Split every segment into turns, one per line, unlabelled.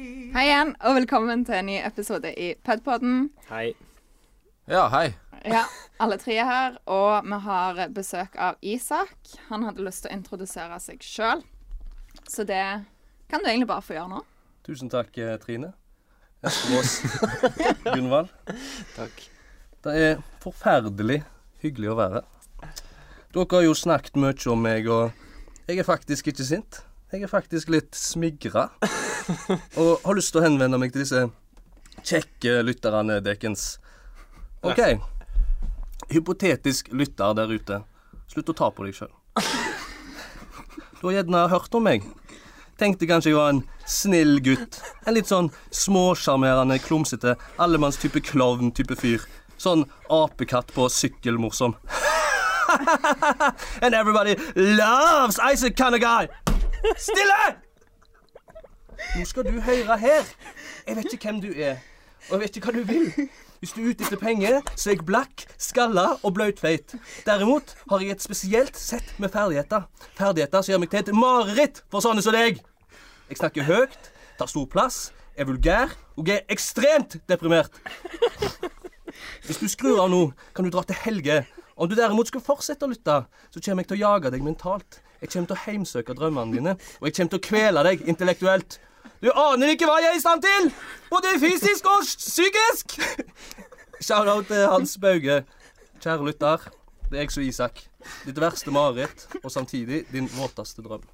igjen, og velkommen til en ny episode i Pedpodden.
Hei.
Ja, hei.
Ja, alle tre er her, og vi har besøk av Isak. Han hadde lyst til å introdusere seg sjøl, så det kan du egentlig bare få gjøre nå.
Tusen takk, eh, Trine. Esperås Gunvald.
Takk.
Det er forferdelig hyggelig å være her. Dere har jo snakket mye om meg, og jeg er faktisk ikke sint. Jeg er faktisk litt smigra. Og har lyst til å henvende meg til disse kjekke lytterne deres. OK. Hypotetisk lytter der ute. Slutt å ta på deg sjøl. Du har gjerne hørt om meg. Tenkte kanskje jeg var en snill gutt. En litt sånn småsjarmerende, klumsete, allemannstype klovn-type fyr. Sånn apekatt på sykkel morsom. And everybody loves Isaac kind of guy. Stille! Nå skal du høre her. Jeg vet ikke hvem du er, og jeg vet ikke hva du vil. Hvis du er ute etter penger, så er jeg blakk, skalla og blautfeit. Derimot har jeg et spesielt sett med ferdigheter. Ferdigheter som gjør meg til et mareritt for sånne som deg. Jeg snakker høyt, tar stor plass, er vulgær og er ekstremt deprimert. Hvis du skrur av nå, kan du dra til Helge. Om du derimot skal fortsette å lytte, så kommer jeg til å jage deg mentalt. Jeg kommer til å heimsøke drømmene dine, og jeg kommer til å kvele deg intellektuelt. Du aner ikke hva jeg er i stand til! Både fysisk og psykisk! Shout-out til Hans Bauge. Kjære lytter, det er jeg som er Isak. Ditt verste mareritt, og samtidig din våteste drøm.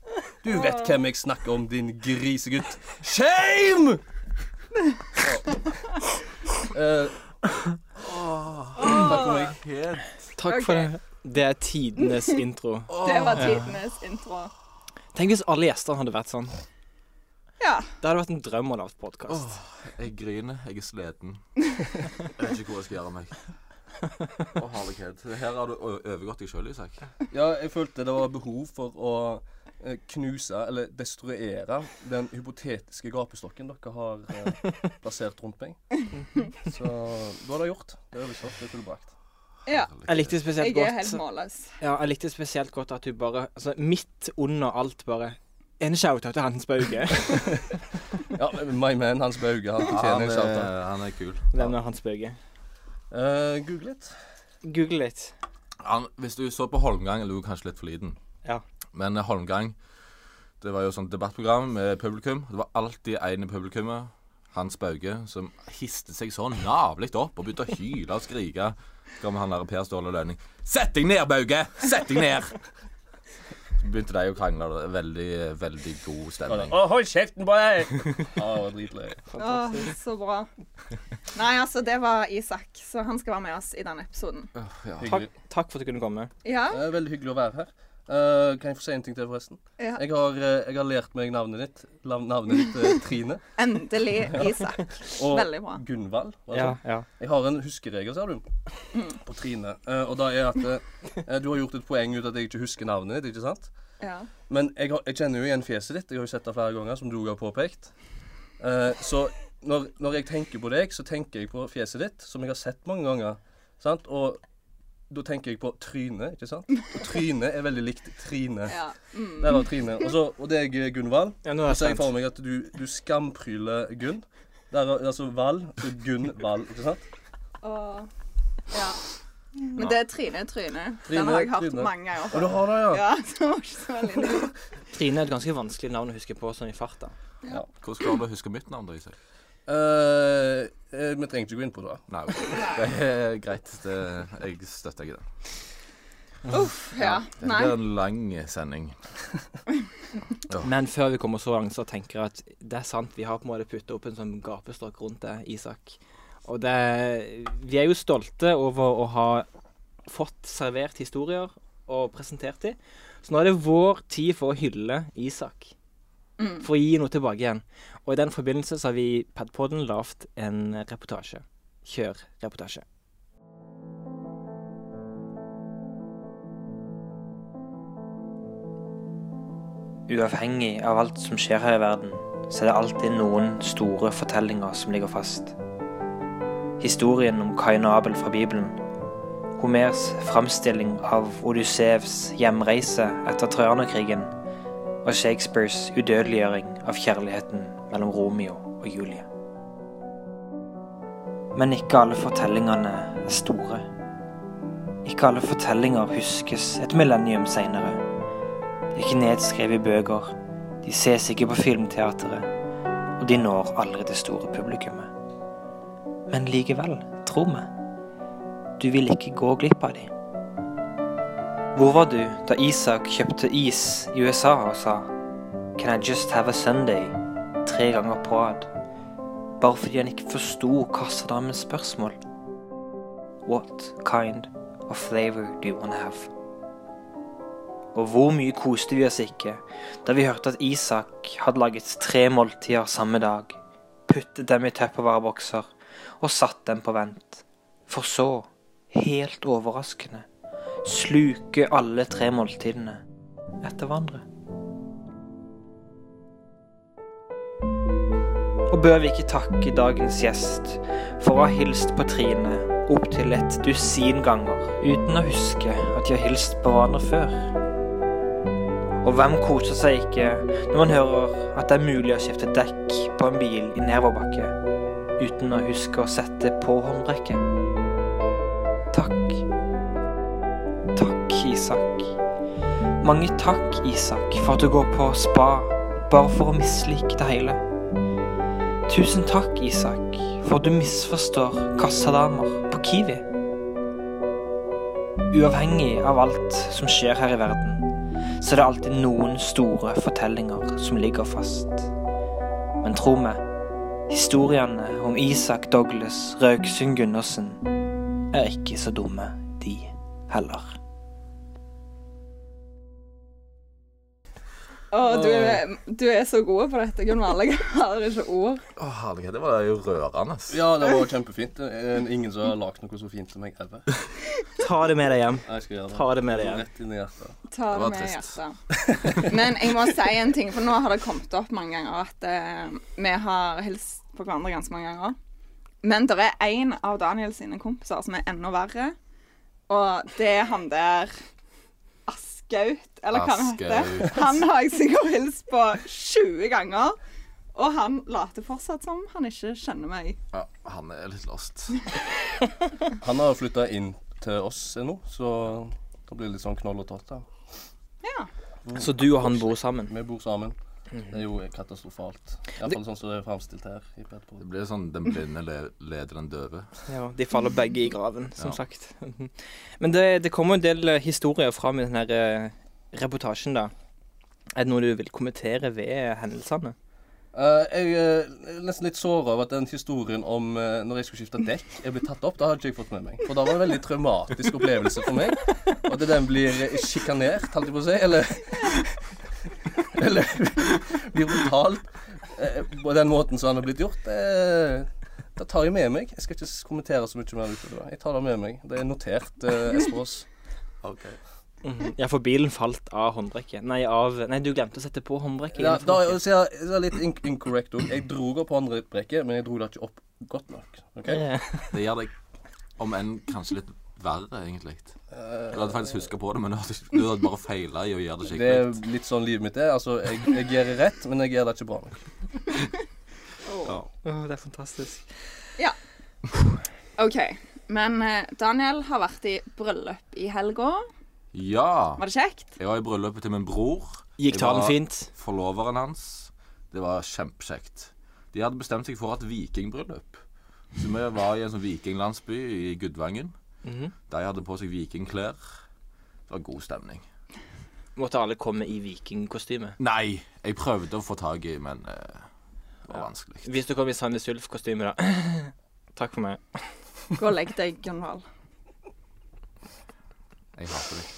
Du vet hvem jeg snakker om, din grisegutt. Shame! Eh, takk for meg.
Takk
Ok.
for det. Det er tidenes intro.
Det var tidenes intro.
Tenk hvis alle gjestene hadde vært sånn.
Ja.
Det hadde vært en drøm å lage podkast.
Jeg griner, jeg er sliten. Jeg vet ikke hvor jeg skal gjøre av meg. Å, herlighet. Her har du o- overgått deg sjøl, Isak.
Ja, jeg følte det var behov for å eh, knuse, eller destruere, den hypotetiske gapestokken dere har eh, plassert rundt meg. Så da er det gjort. Det er oversatt, det er fullbrakt.
ja.
Jeg likte spesielt
Jeg er
godt
helt målløs.
Ja, jeg likte spesielt godt at du bare altså, Midt under alt bare En shout-out til Hans Bauge.
Ja, my man Hans Bauge, han
Ja, han,
fortjener en shout-out.
er- han er kul.
Hvem er Hans Bauge?
Eh, Google litt.
Google litt.
Han, hvis du så på Holmgang, lo kanskje litt for liten.
Ja.
Men eh, Holmgang, det var jo sånn debattprogram med publikum. Det var alltid en i publikummet, Hans Bauge, som histe seg så navlig opp og begynte å hyle og skrike. Så kom han der Per Ståle Lønning. Sett deg ned, Bauge! Sett deg ned! Så begynte de å krangle. og det var Veldig, veldig god stemning.
Å, hold kjeften på deg! Ja, det var dritløy.
Åh, så bra. Nei, altså, det var Isak, så han skal være med oss i denne episoden.
Ja.
Takk,
Hyggelig.
takk for at du kunne komme.
Ja.
Det er veldig hyggelig å være her. Eh, kan jeg få si en ting til, forresten?
ja.
Jeg har, eh, jeg har lært meg navnet ditt. Lav- Navnet ditt eh, Trine.
Endelig Isak.
Og
Veldig bra.
Gunvald. var det
Ja,
sånn?
ja.
Jeg har en huskeregel, ser du.
Mm.
På Trine. Eh, og det er at eh, du har gjort et poeng ut av at jeg ikke husker navnet ditt, ikke sant?
Ja.
Men jeg, har, jeg kjenner jo igjen fjeset ditt. Jeg har jo sett det flere ganger, som du òg har påpekt. Eh, så når, når jeg tenker på deg, så tenker jeg på fjeset ditt, som jeg har sett mange ganger. Sant? Og da tenker jeg på trynet, ikke sant? Og trynet er veldig likt Trine.
ja. Mm.
Der var Trine. Og, så, og deg, eh, Gunvald.
ja nå er
Så jeg
jeg
for
spent.
meg at du, du skampryler Gunn. Der, er- altså Val. så Gunn Val, ikke sant?
Og Ja. Men det er Trine Tryne. Den
Trine
har jeg hørt
Tryne.
mange ganger.
Og du har det, ja.
Ja, det var ikke så veldig nytt.
Trine er et ganske vanskelig navn å huske på sånn i farta.
Hvordan klarer du å huske mitt navn, da, Isak?
Eh, eh, vi trenger ikke gå inn på det.
Nei, ok. det er greit. Det, jeg støtter ikke det.
Uff, ja.
Det
Nei.
blir en lang sending.
Men før vi kommer så langt, så tenker jeg at det er sant. Vi har på en måte putta opp en sånn gapestokk rundt det, Isak. Og det Vi er jo stolte over å ha fått servert historier og presentert de. Så nå er det vår tid for å hylle Isak.
Mm.
For å gi noe tilbake igjen. Og i den forbindelse så har vi i Padpodden lagd en reportasje. Kjør reportasje.
Uavhengig av alt som skjer her i verden, så er det alltid noen store fortellinger som ligger fast. Historien om Kain og Abel fra Bibelen. Homers framstilling av Odyssevs hjemreise etter Trojanerkrigen. Og Shakespeares udødeliggjøring av kjærligheten mellom Romeo og Julie. Men ikke alle fortellingene er store. Ikke alle fortellinger huskes et millennium seinere. De er ikke nedskrevet i bøker, de ses ikke på filmteatret, og de når aldri det store publikummet. Men likevel, tro meg, du vil ikke gå glipp av de. Hvor var du da Isak kjøpte is i USA og sa Can I just have a Sunday? tre ganger på rad? bare fordi han ikke forsto kassadamens spørsmål. What kind of flavor do you wanna have? Og hvor mye koste vi oss ikke da vi hørte at Isak hadde laget tre måltider samme dag, puttet dem i tupperwarebokser og satt dem på vent, for så, helt overraskende, sluke alle tre måltidene etter hverandre. Og bør vi ikke takke dagens gjest for å ha hilst på Trine opptil et dusin ganger uten å huske at de har hilst på hverandre før? Og hvem koser seg ikke når man hører at det er mulig å skifte dekk på en bil i nedoverbakke uten å huske å sette på håndbrekket? Takk. Takk, Isak. Mange takk, Isak, for at du går på spa bare for å mislike det hele. Tusen takk, Isak, for at du misforstår kassadamer på Kiwi. Uavhengig av alt som skjer her i verden, så er det alltid noen store fortellinger som ligger fast. Men tro meg, historiene om Isak Douglas Rauksund Gundersen er ikke så dumme, de heller.
Å, du, er, du er så god på dette, Gunvald. Jeg har ikke ord.
Å, herlighet, det var jo rørende.
Ja, det var kjempefint. Det er Ingen som har lagd noe så fint som jeg ever.
Ta det med deg hjem.
Jeg skal gjøre det.
Ta det med deg hjem.
Rett inn i hjertet.
Ta
Det
det
var
med
trist.
hjertet. Men jeg må si en ting, for nå har det kommet opp mange ganger at eh, vi har hilst på hverandre ganske mange ganger. Men det er en av Daniel sine kompiser som er enda verre, og det er han der Askaut, eller hva han heter.
Askaut.
Han har jeg sikkert hilst på 20 ganger, og han later fortsatt som han ikke kjenner meg.
Ja, han er litt lost.
Han har flytta inn til oss nå, så det blir litt sånn knoll og tott her.
Ja.
Så du og han bor sammen?
Vi bor sammen. Det er jo katastrofalt. Iallfall sånn som det er framstilt her. i Petro.
Det blir sånn den blinde le leder den døve.
Ja, de faller begge i graven, som sagt. Men det, det kommer en del eh, historier fram i den her eh, reportasjen, da. Er det noe du vil kommentere ved hendelsene?
Eh, jeg er nesten litt såra over at den historien om eh, når jeg skulle skifte dekk, er blitt tatt opp. Det hadde ikke jeg fått med meg. For da var det en veldig traumatisk opplevelse for meg. Og at den blir eh, sjikanert, holdt jeg på å si. Eller Eller blir brutalt eh, på den måten som han har blitt gjort. Det, det tar jeg med meg. Jeg skal ikke s- kommentere så mye mer utover det. Jeg tar det med meg. Det er notert, uh, Esperås.
Ja, for bilen falt av håndbrekket. Nei, av Nei, du glemte å sette på håndbrekket.
Ja,
innenfor
da,
bakken.
så jeg, så jeg er litt in incorrect òg. Jeg dro opp håndbrekket, men jeg dro det ikke opp godt nok. ok?
Ja.
Det gjør deg om enn kanskje litt verre, egentlig. Jeg hadde faktisk huska på det, men du hadde, du hadde bare feila i å gjøre det
Det er
skikkelig.
litt sånn livet mitt er. Altså, jeg, jeg gjør det rett, men jeg gjør det ikke bra nok.
Åh, det er fantastisk.
OK. Men eh, Daniel har vært i bryllup i helga.
Ja.
Var det kjekt?
Jeg var i bryllupet til min bror.
Gikk
Jeg
talen
var
fint?
Forloveren hans. Det var kjempekjekt. De hadde bestemt seg for et vikingbryllup. Så vi var i en sånn vikinglandsby i Gudvangen. De hadde på seg vikingklær. Det var god stemning.
Måtte alle komme i vikingkostyme?
Nei, jeg prøvde å få tak i, men eh, det var vanskelig.
Hvis du kom i Sandnes Ulf-kostyme, da. Takk for meg.
Gå og legg deg, Gunvald.
Jeg hater deg.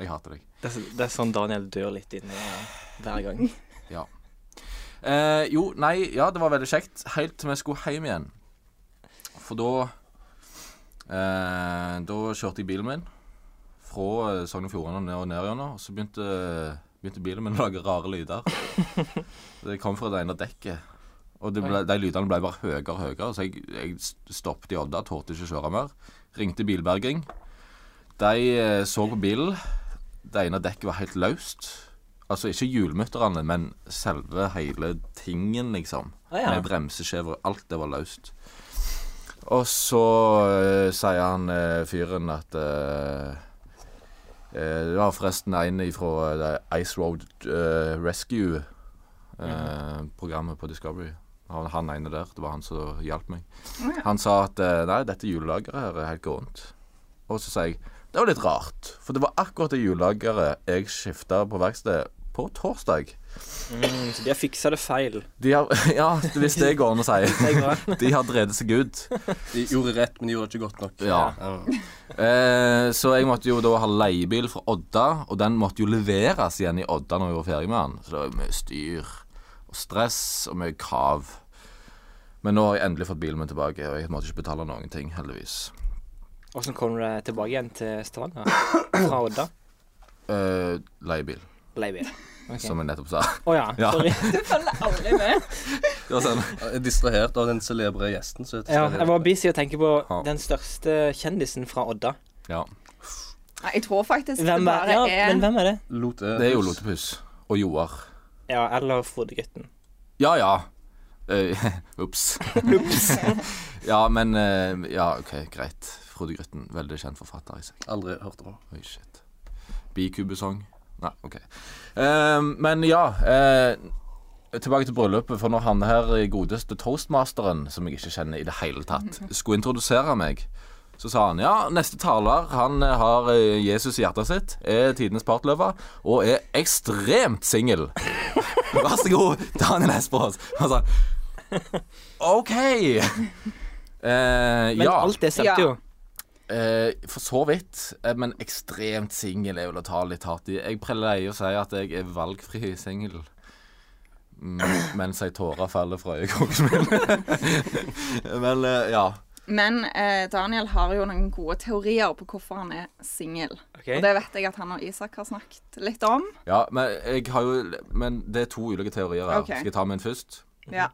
Jeg hater deg.
Det er, så- det er sånn Daniel dør litt inni eh, hver gang.
Ja. Eh, jo, nei, ja, det var veldig kjekt. Helt til vi skulle hjem igjen. For da eh, Da kjørte jeg bilen min fra eh, Sogn og Fjordane og ned og ned igjennom. Og så begynte, begynte bilen min å lage rare lyder. Det kom fra det ene dekket. Og det ble, de lydene ble bare høyere og høyere, så jeg, jeg stoppet i Odda. Torde ikke kjøre mer. Ringte bilberging. De eh, så på bilen. Det ene dekket var helt løst. Altså ikke hjulmutterne, men selve hele tingen, liksom.
Å, ja.
Med bremseskjever og alt det var løst. Og så eh, sier han eh, fyren at eh, eh, Det var forresten en fra Ice Road eh, Rescue, eh, programmet på Discovery. Han, han ene der, det var han som hjalp meg.
Å ja.
Han sa at eh, nei, dette julelageret her er helt gåent. Og så sier jeg det var litt rart, for det var akkurat det julelageret jeg skifta på verkstedet på torsdag.
Mm, så de har fiksa det feil.
De har, ja, hvis det går an å si.
Jeg var-
De har drevet seg ut.
De gjorde rett, men de gjorde det ikke godt nok.
Ja. Eh, så jeg måtte jo da ha leiebil fra Odda, og den måtte jo leveres igjen i Odda når vi var ferdig med den. Så det var jo mye styr og stress og mye krav. Men nå har jeg endelig fått bilen min tilbake, og jeg måtte ikke betale noen ting, heldigvis.
Åssen kom du deg tilbake igjen til Stavanger? Fra Odda?
Eh, leiebil,
Leiby. Ok.
som jeg nettopp sa.
Å ja.
Ja.
Sorry.
Du følger aldri med.
Det var sånn.
Jeg er distrahert av den celebre gjesten. Så jeg,
Ja, jeg var busy og tenkte på
Ja.
den største kjendisen fra Odda.
Ja.
Nei, jeg tror faktisk det
Hvem er,
bare
ja, men
er
hvem er det?
Lote.
Det er jo Lotepus og Joar.
Ja, eller Frode-gutten.
Ja, ja. Eh, Ops. ja, men eh, Ja, OK, greit. Frode Grytten, veldig kjent forfatter i seg.
Aldri hørt om.
Oi, shit. Bikubesong? Nei, OK. Eh, men ja eh, Tilbake til bryllupet, for når han her i godeste toastmasteren, som jeg ikke kjenner i det hele tatt, skulle introdusere meg, så sa han ja, neste taler han eh, har eh, Jesus i hjertet sitt, er tidenes partløver og er ekstremt singel. Vær så god, Daniel Espros. Han sa OK. Eh,
Men
ja.
alt det
Ja.
stemte jo.
Eh, for så vidt, eh, men ekstremt singel er vel å ta litt hardt i. Jeg pleier å si at jeg er valgfri singel. Mm, Mens ei tåre faller fra øyekroken min. men eh, ja.
Men eh, Daniel har jo noen gode teorier på hvorfor han er singel.
Ok.
Og det vet jeg at han og Isak har snakket litt om.
ja. Men jeg har jo Men det er to ulike teorier her.
Ok.
Skal jeg ta min først?
Ja.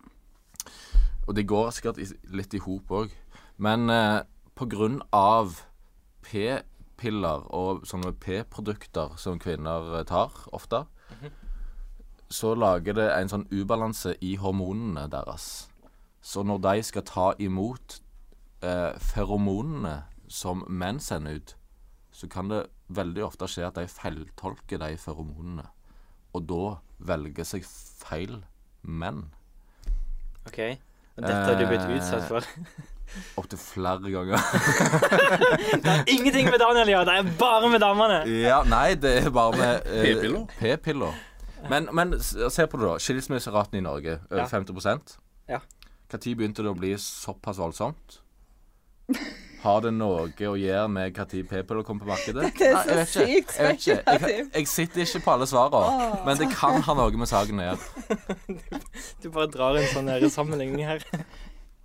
Og det går sikkert i, litt i hop òg. Men eh, på grunn av p-piller og sånne p-produkter som kvinner eh, tar ofte, så lager det en sånn ubalanse i hormonene deres. Så når de skal ta imot eh, feromonene som menn sender ut, så kan det veldig ofte skje at de feiltolker de feromonene. Og da velger seg feil menn.
Ok. Og dette har du blitt
Eh.
utsatt for.
Opptil flere ganger.
Ingenting med Daniel å gjøre, det er bare med damene.
Ja, nei, det er bare med eh,
P-piller?
P-piller. Men, men s- se på det, da. Skilsmisseraten i Norge over
Ja.
50
Ja.
Når begynte det å bli såpass voldsomt? Har det noe å gjøre med når p-piller kom på markedet?
Dette er
Nei, jeg
så
vet ikke.
sykt
Jeg, vet ikke. Jeg, kan-
spekulativt.
jeg sitter ikke på alle svarene, men det kan ha noe med saken å gjøre.
Du bare drar en sånn der sammenligning her.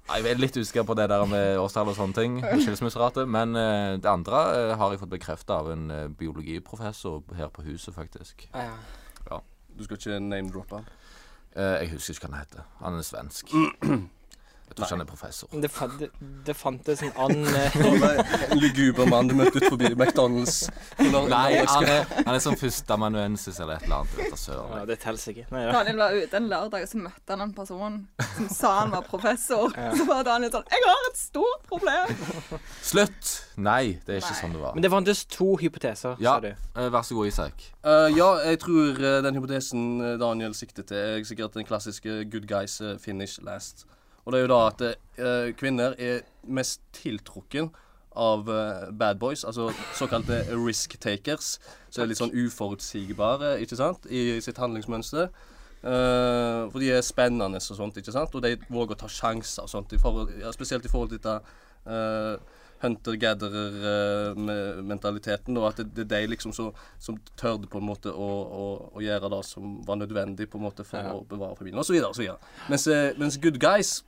Nei, Jeg er litt usikker på det der med årstall og sånne ting, skilsmisserate, men eh, det andre eh, har jeg fått bekrefta av en eh, biologiprofessor her på huset, faktisk.
Du skal ikke name-droppe han.
Eh, jeg husker ikke hva han heter. Han er svensk. Jeg tror ikke han er professor.
Det, fa det, det fantes en annen eh,
Han var en Luguber mann du møtte ut forbi McDonald's. Når-
Nei,
når jeg skal-
han er, han er sånn førsteamanuensis eller et eller annet. Vet du, søren.
Ja, det teller ikke. Nei, ja.
Daniel var ute en lørdag, og så møtte han en person som sa han var professor. Så var Daniel sånn 'Jeg har et stort problem'.
Slutt! Nei, det er ikke
Nei.
sånn det var.
Men det fantes to hypoteser,
Ja,
sa du.
eh, vær så god, Isak.
Eh, ja, jeg tror eh, den hypotesen eh, Daniel sikter til, er sikkert den klassiske good guys eh, finish last. Og det er jo da at eh, kvinner er mest tiltrukken av eh, bad boys, altså såkalte risk takers. Så er litt sånn uforutsigbare, ikke sant, i sitt handlingsmønster. Eh, for de er spennende og sånt, ikke sant, og de våger å ta sjanser og sånt, i forhold, ja, spesielt i forhold til dette eh, hunter-gatherer-mentaliteten, og at det, det er de liksom som som tørde på en måte å, å, å gjøre det som var nødvendig på en måte for å bevare familien, osv. Mens, eh, mens good guys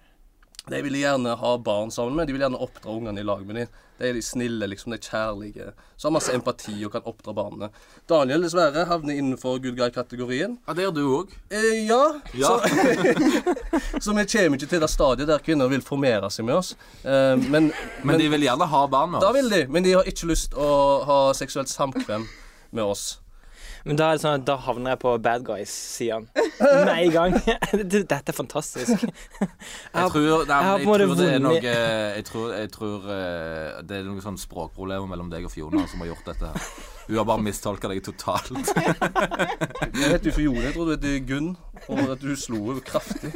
de ville gjerne ha barn sammen med, de ville gjerne oppdra ungene i lag med dem. De er de snille, liksom, de er kjærlige, som har masse empati og kan oppdra barna. Daniel dessverre havner innenfor good guy-kategorien.
Ja, det gjør du òg.
Eh, ja,
Ja.
så vi kommer ikke til det stadiet der kvinner vil formere seg med oss. Eh, men,
Men de vil gjerne ha barn med
da
oss.
vil de, men de har ikke lyst å ha seksuelt samkvem med oss.
Men da er det sånn at da havner jeg på bad guys-siden med en gang. Dette er fantastisk.
Jeg tror, nei,
har
men
på en
jeg
måte
tror det er noe
vunnet.
Jeg tror, jeg tror eh, det er noen sånn språkproblemer mellom deg og Fiona som har gjort dette her. Hun har bare mistolka deg totalt.
Jeg heter jo Fione. Jeg trodde du het Gunn, og at du slo henne kraftig.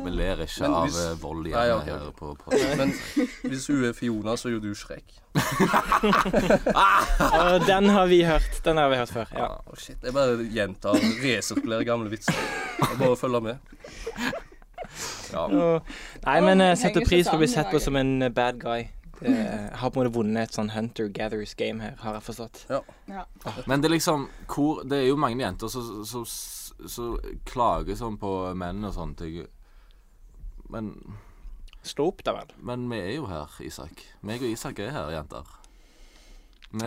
Vi ler ikke
Men
av
hvis-
eh, vold
Nei,
igjen
ok,
her
ok.
på podden.
Men hvis hun er Fiona, så er jo du Shrek.
Og den har vi hørt. Den har vi hørt før. Ja.
Å, shit. Jeg bare gjentar og resirkulerer gamle vitser. Jeg bare følger med.
Ja.
Og, nei,
Å, vi
men jeg
henger
setter
ikke
pris på å
sammen
bli
i
sett på
dag.
som en eh, bad guy. Det, jeg har på en måte vunnet et sånn Hunter-Gathers-game her, har jeg forstått.
Men det er liksom hvor, Det er jo mange jenter som som- som- som klager sånn på menn og sånne ting. Men,
Stå opp, da vel.
men vi er jo her, Isak. Meg og Isak er her, jenter. Vi vi,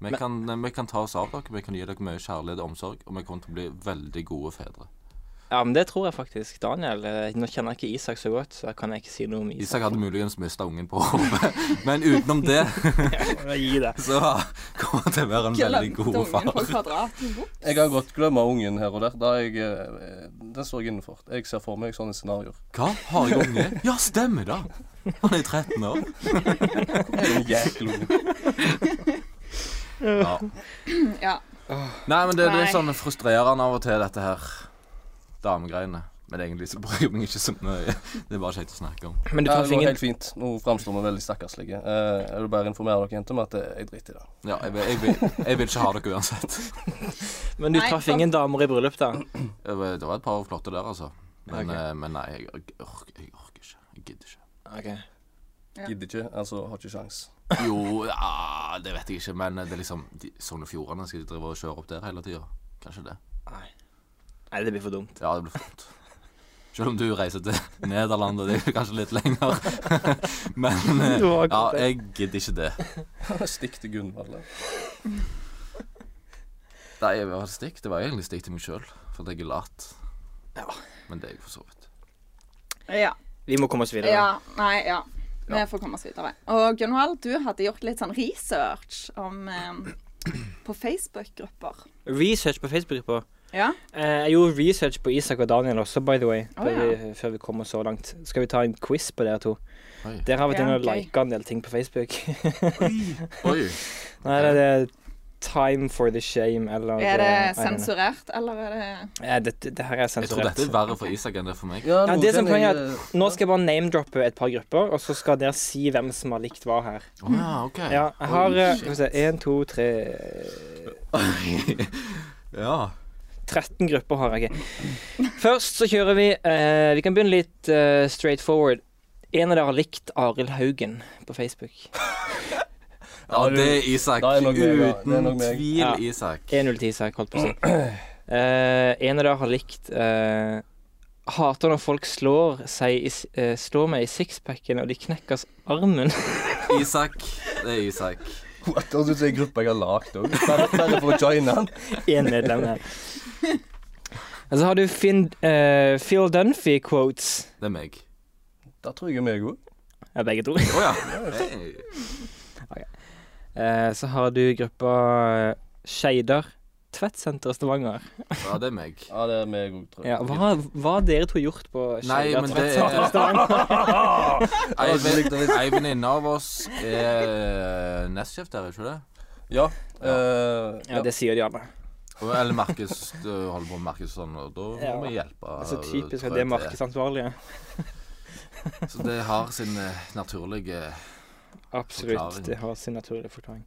Men-
kan, vi kan ta oss av dere, vi kan gi dere mye kjærlighet og omsorg, og vi kommer til å bli veldig gode fedre.
Ja, men det tror jeg faktisk. Daniel, eh, nå kjenner jeg ikke Isak så godt, så jeg kan ikke si noe om Isak.
Isak hadde muligens mista ungen på hodet, men utenom det
Jeg gir det.
så kommer han til å være en veldig
Glemte
god
ungen på
far.
kvadraten.
Jeg har godt glemma ungen her og der. Da er jeg, eh, den står jeg innenfor. Jeg ser for meg sånne scenarioer.
Hva? Har jeg unge? Ja, stemmer det! Han er 13 år.
Jeg er en jækel unge.
Ja.
Ja.
Nei, men det,
Nei.
det er sånn frustrerende av og til, dette her. Damegreiene. Men egentlig så bryr jeg meg ikke så mye. Det er bare kjekt å snakke om.
Men du
Ja,
tar
det går
fingeren
helt fint. Nå framstår vi veldig stakkarslige. Eh, jeg vil bare informere dere jenter om at eh, jeg driter i det.
Ja, jeg vil, jeg vil, jeg vil ikke ha dere uansett.
Men du
Nei,
traff
sant.
ingen damer i bryllup, da?
Det var det var et par flotte der, altså. Men,
Ok.
eh, men nei, jeg, jeg, orker, jeg orker ikke. Jeg gidder ikke.
Ok.
Ja.
Gidder ikke, altså har ikke sjans.
Jo, ja, det vet jeg ikke, men det er liksom de, Sogn og Fjordane skal de drive og kjøre opp der hele tida. Kanskje det.
Nei. Nei, det blir for dumt.
Ja, det blir flott. Selv om du reiser til Nederland, og det er jo kanskje litt lenger. Men eh,
Det var
ja,
akkurat det.
jeg gidder ikke det.
Stikk til Gunvald. da.
Nei, jeg var stikk. Det var egentlig stikk til meg sjøl, for at jeg er lat.
Ja.
Men det er jeg for så vidt.
Ja.
Vi må komme oss videre.
ja. Nei, ja. Vi
Ja.
får komme oss videre. Og Gunvald, du hadde gjort litt sånn research om eh, På Facebook-grupper.
Research på Facebook-gruppa.
Ja.
Eh, Jeg gjorde research på Isak og Daniel også, by the way.
Å,
før
ja.
vi- Før vi kommer så langt. Skal vi ta en quiz på dere to?
Oi.
Dere har vært
Ja,
inne og
ok.
liket en del ting på Facebook.
Oi.
Nei, det er Time for the Shame, eller
Er
eh,
det
I don't know.
sensurert, eller er det
Ja, det, det her er
Jeg tror
sensurert.
dette er verre for Isak enn det er for meg.
Ja, det som
noen
poenget
kjenner jeg,
Nå skal jeg bare name-droppe et par grupper, og så skal dere si hvem som har likt hva her.
Å ja, OK.
Ja, jeg har eh, Skal vi se Én, to, tre
ja.
13 grupper har jeg ikke. Først så kjører vi eh, Vi kan begynne litt eh, straight forward. En av dere har likt Arild Haugen på Facebook.
ja, det er Isak.
Da er det nok meg, ja. Det er
Uten
nok meg.
tvil
Ja.
Isak.
1-0 til Isak, holdt på å si. Eh, en av dere har likt eh, Hater når folk slår, seg i, s- eh, slår meg i sixpacken og de knekkes armen.
Isak. Det er Isak.
What? Det høres ut som en gruppe jeg har lagd òg. Bare bare for å joine den.
Én medlem her. Og så har du Finn, eh, Phil Dunphy-quotes.
Det er meg.
Da tror jeg jeg er meg òg.
Ja, begge to.
Å ja. Hey.
Eh, så har du gruppa Skeider. Tvettsenter Stavanger.
Ja, det er meg.
Ja, det er meg òg, tror jeg.
Ja, hva, har- hva har dere to gjort på
Nei,
Skeider
men det
Tvettsenter
er-
Stavanger?
Ei ven- ei venninne av oss er eh, nestsjef der, er ikke det?
Ja. eh,
Ja, det sier de alle.
Og- Eller Markus du holder på med Markus og sånn, og da
Ja.
må vi hjelpe.
Det er så Altså typisk at
trå
det er
til.
markedsansvarlige.
Så det har sin eh, naturlige
Absolutt.
Forklaring.
Det har sin naturlige forklaring.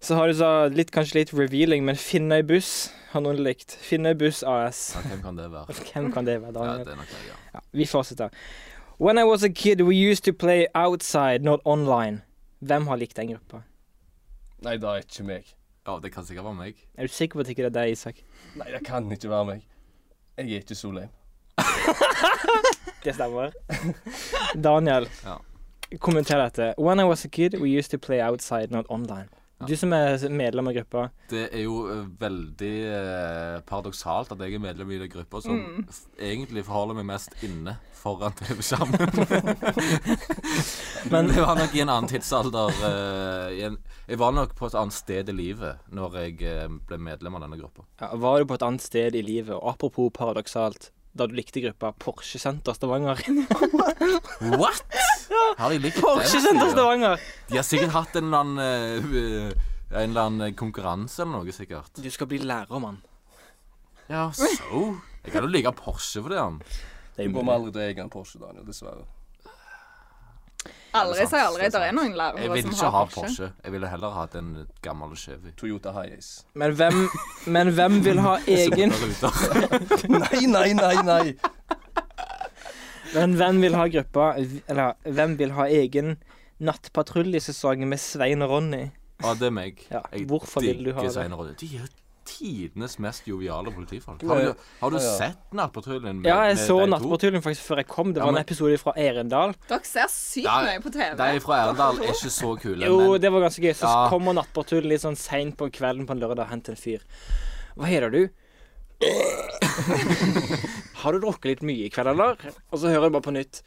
Så har du så litt, kanskje litt revealing, men Finnøy Buss har noen likt. Finnøy Buss AS.
Ja, hvem kan det være?
Hvem kan det være,
Ja,
Daniel?
det er nok jeg, ja.
Ja, vi fortsetter. When I was a kid, we used to play outside, not online. Hvem har likt den gruppa?
Nei, det er ikke meg.
Ja, det kan sikkert være meg.
Er du sikker på at ikke det er deg, Isak?
Nei, det kan ikke være meg. Jeg er ikke så lame.
Det stemmer. Daniel,
Ja.
kommenter dette. When I was a kid, we used to play outside, not online. Du som er medlem av gruppa.
Det er jo eh, veldig eh, paradoksalt at jeg er medlem i den gruppa som
Mm.
f- egentlig forholder meg mest inne foran TV-skjermen. Men det var nok i en annen tidsalder eh, i en, Jeg var nok på et annet sted i livet når jeg eh, ble medlem av denne gruppa.
Ja, var du på et annet sted i livet? Og apropos paradoksalt, da du likte gruppa Porsche Senter Stavanger
What?! Har de likt den
Porsche Senter
siden?
Stavanger!
De har sikkert hatt en eller annen eh, eh, En eller annen konkurranse eller noe, sikkert.
Du skal bli lærermann.
Ja, so Jeg kan jo like Porsche for det, han.
Det
Du
er
kommer
umulig.
aldri til å eie en Porsche, Daniel, dessverre.
Det
Aldri
er
sier
sant,
aldri.
det er
Det er
sant.
noen lærere
Jeg vil
som
ikke
har
ha
Porsche.
Porsche. Jeg ville heller hatt en gammel Chevy.
Toyota Hiace.
Men hvem, men hvem vil ha egen
Ruter.
Nei, nei, nei, nei.
Men hvem vil ha gruppa Eller hvem vil ha egen nattpatruljesesong med Svein og Ronny?
Ja, det er meg.
Ja,
Jeg
hvorfor vil du ha
digger
det?
Svein og Ronny. De er jo tidenes mest joviale politifolk. Har du, har du
Ja, ja.
sett Nattpatruljen? med-
Ja, jeg
med
så
de to?
Nattpatruljen faktisk før jeg kom. Det
Ja,
var en
men-
episode fra Erendal.
Dere ser sykt
Ja,
mye på TV.
De fra Erendal er ikke så kule,
Jo,
men
det var ganske gøy. Så
Ja.
kommer Nattpatruljen litt sånn seint på kvelden på en lørdag og henter en fyr. Hva heter du? Har du drukket litt mye i kveld, eller? Og så hører jeg bare på nytt.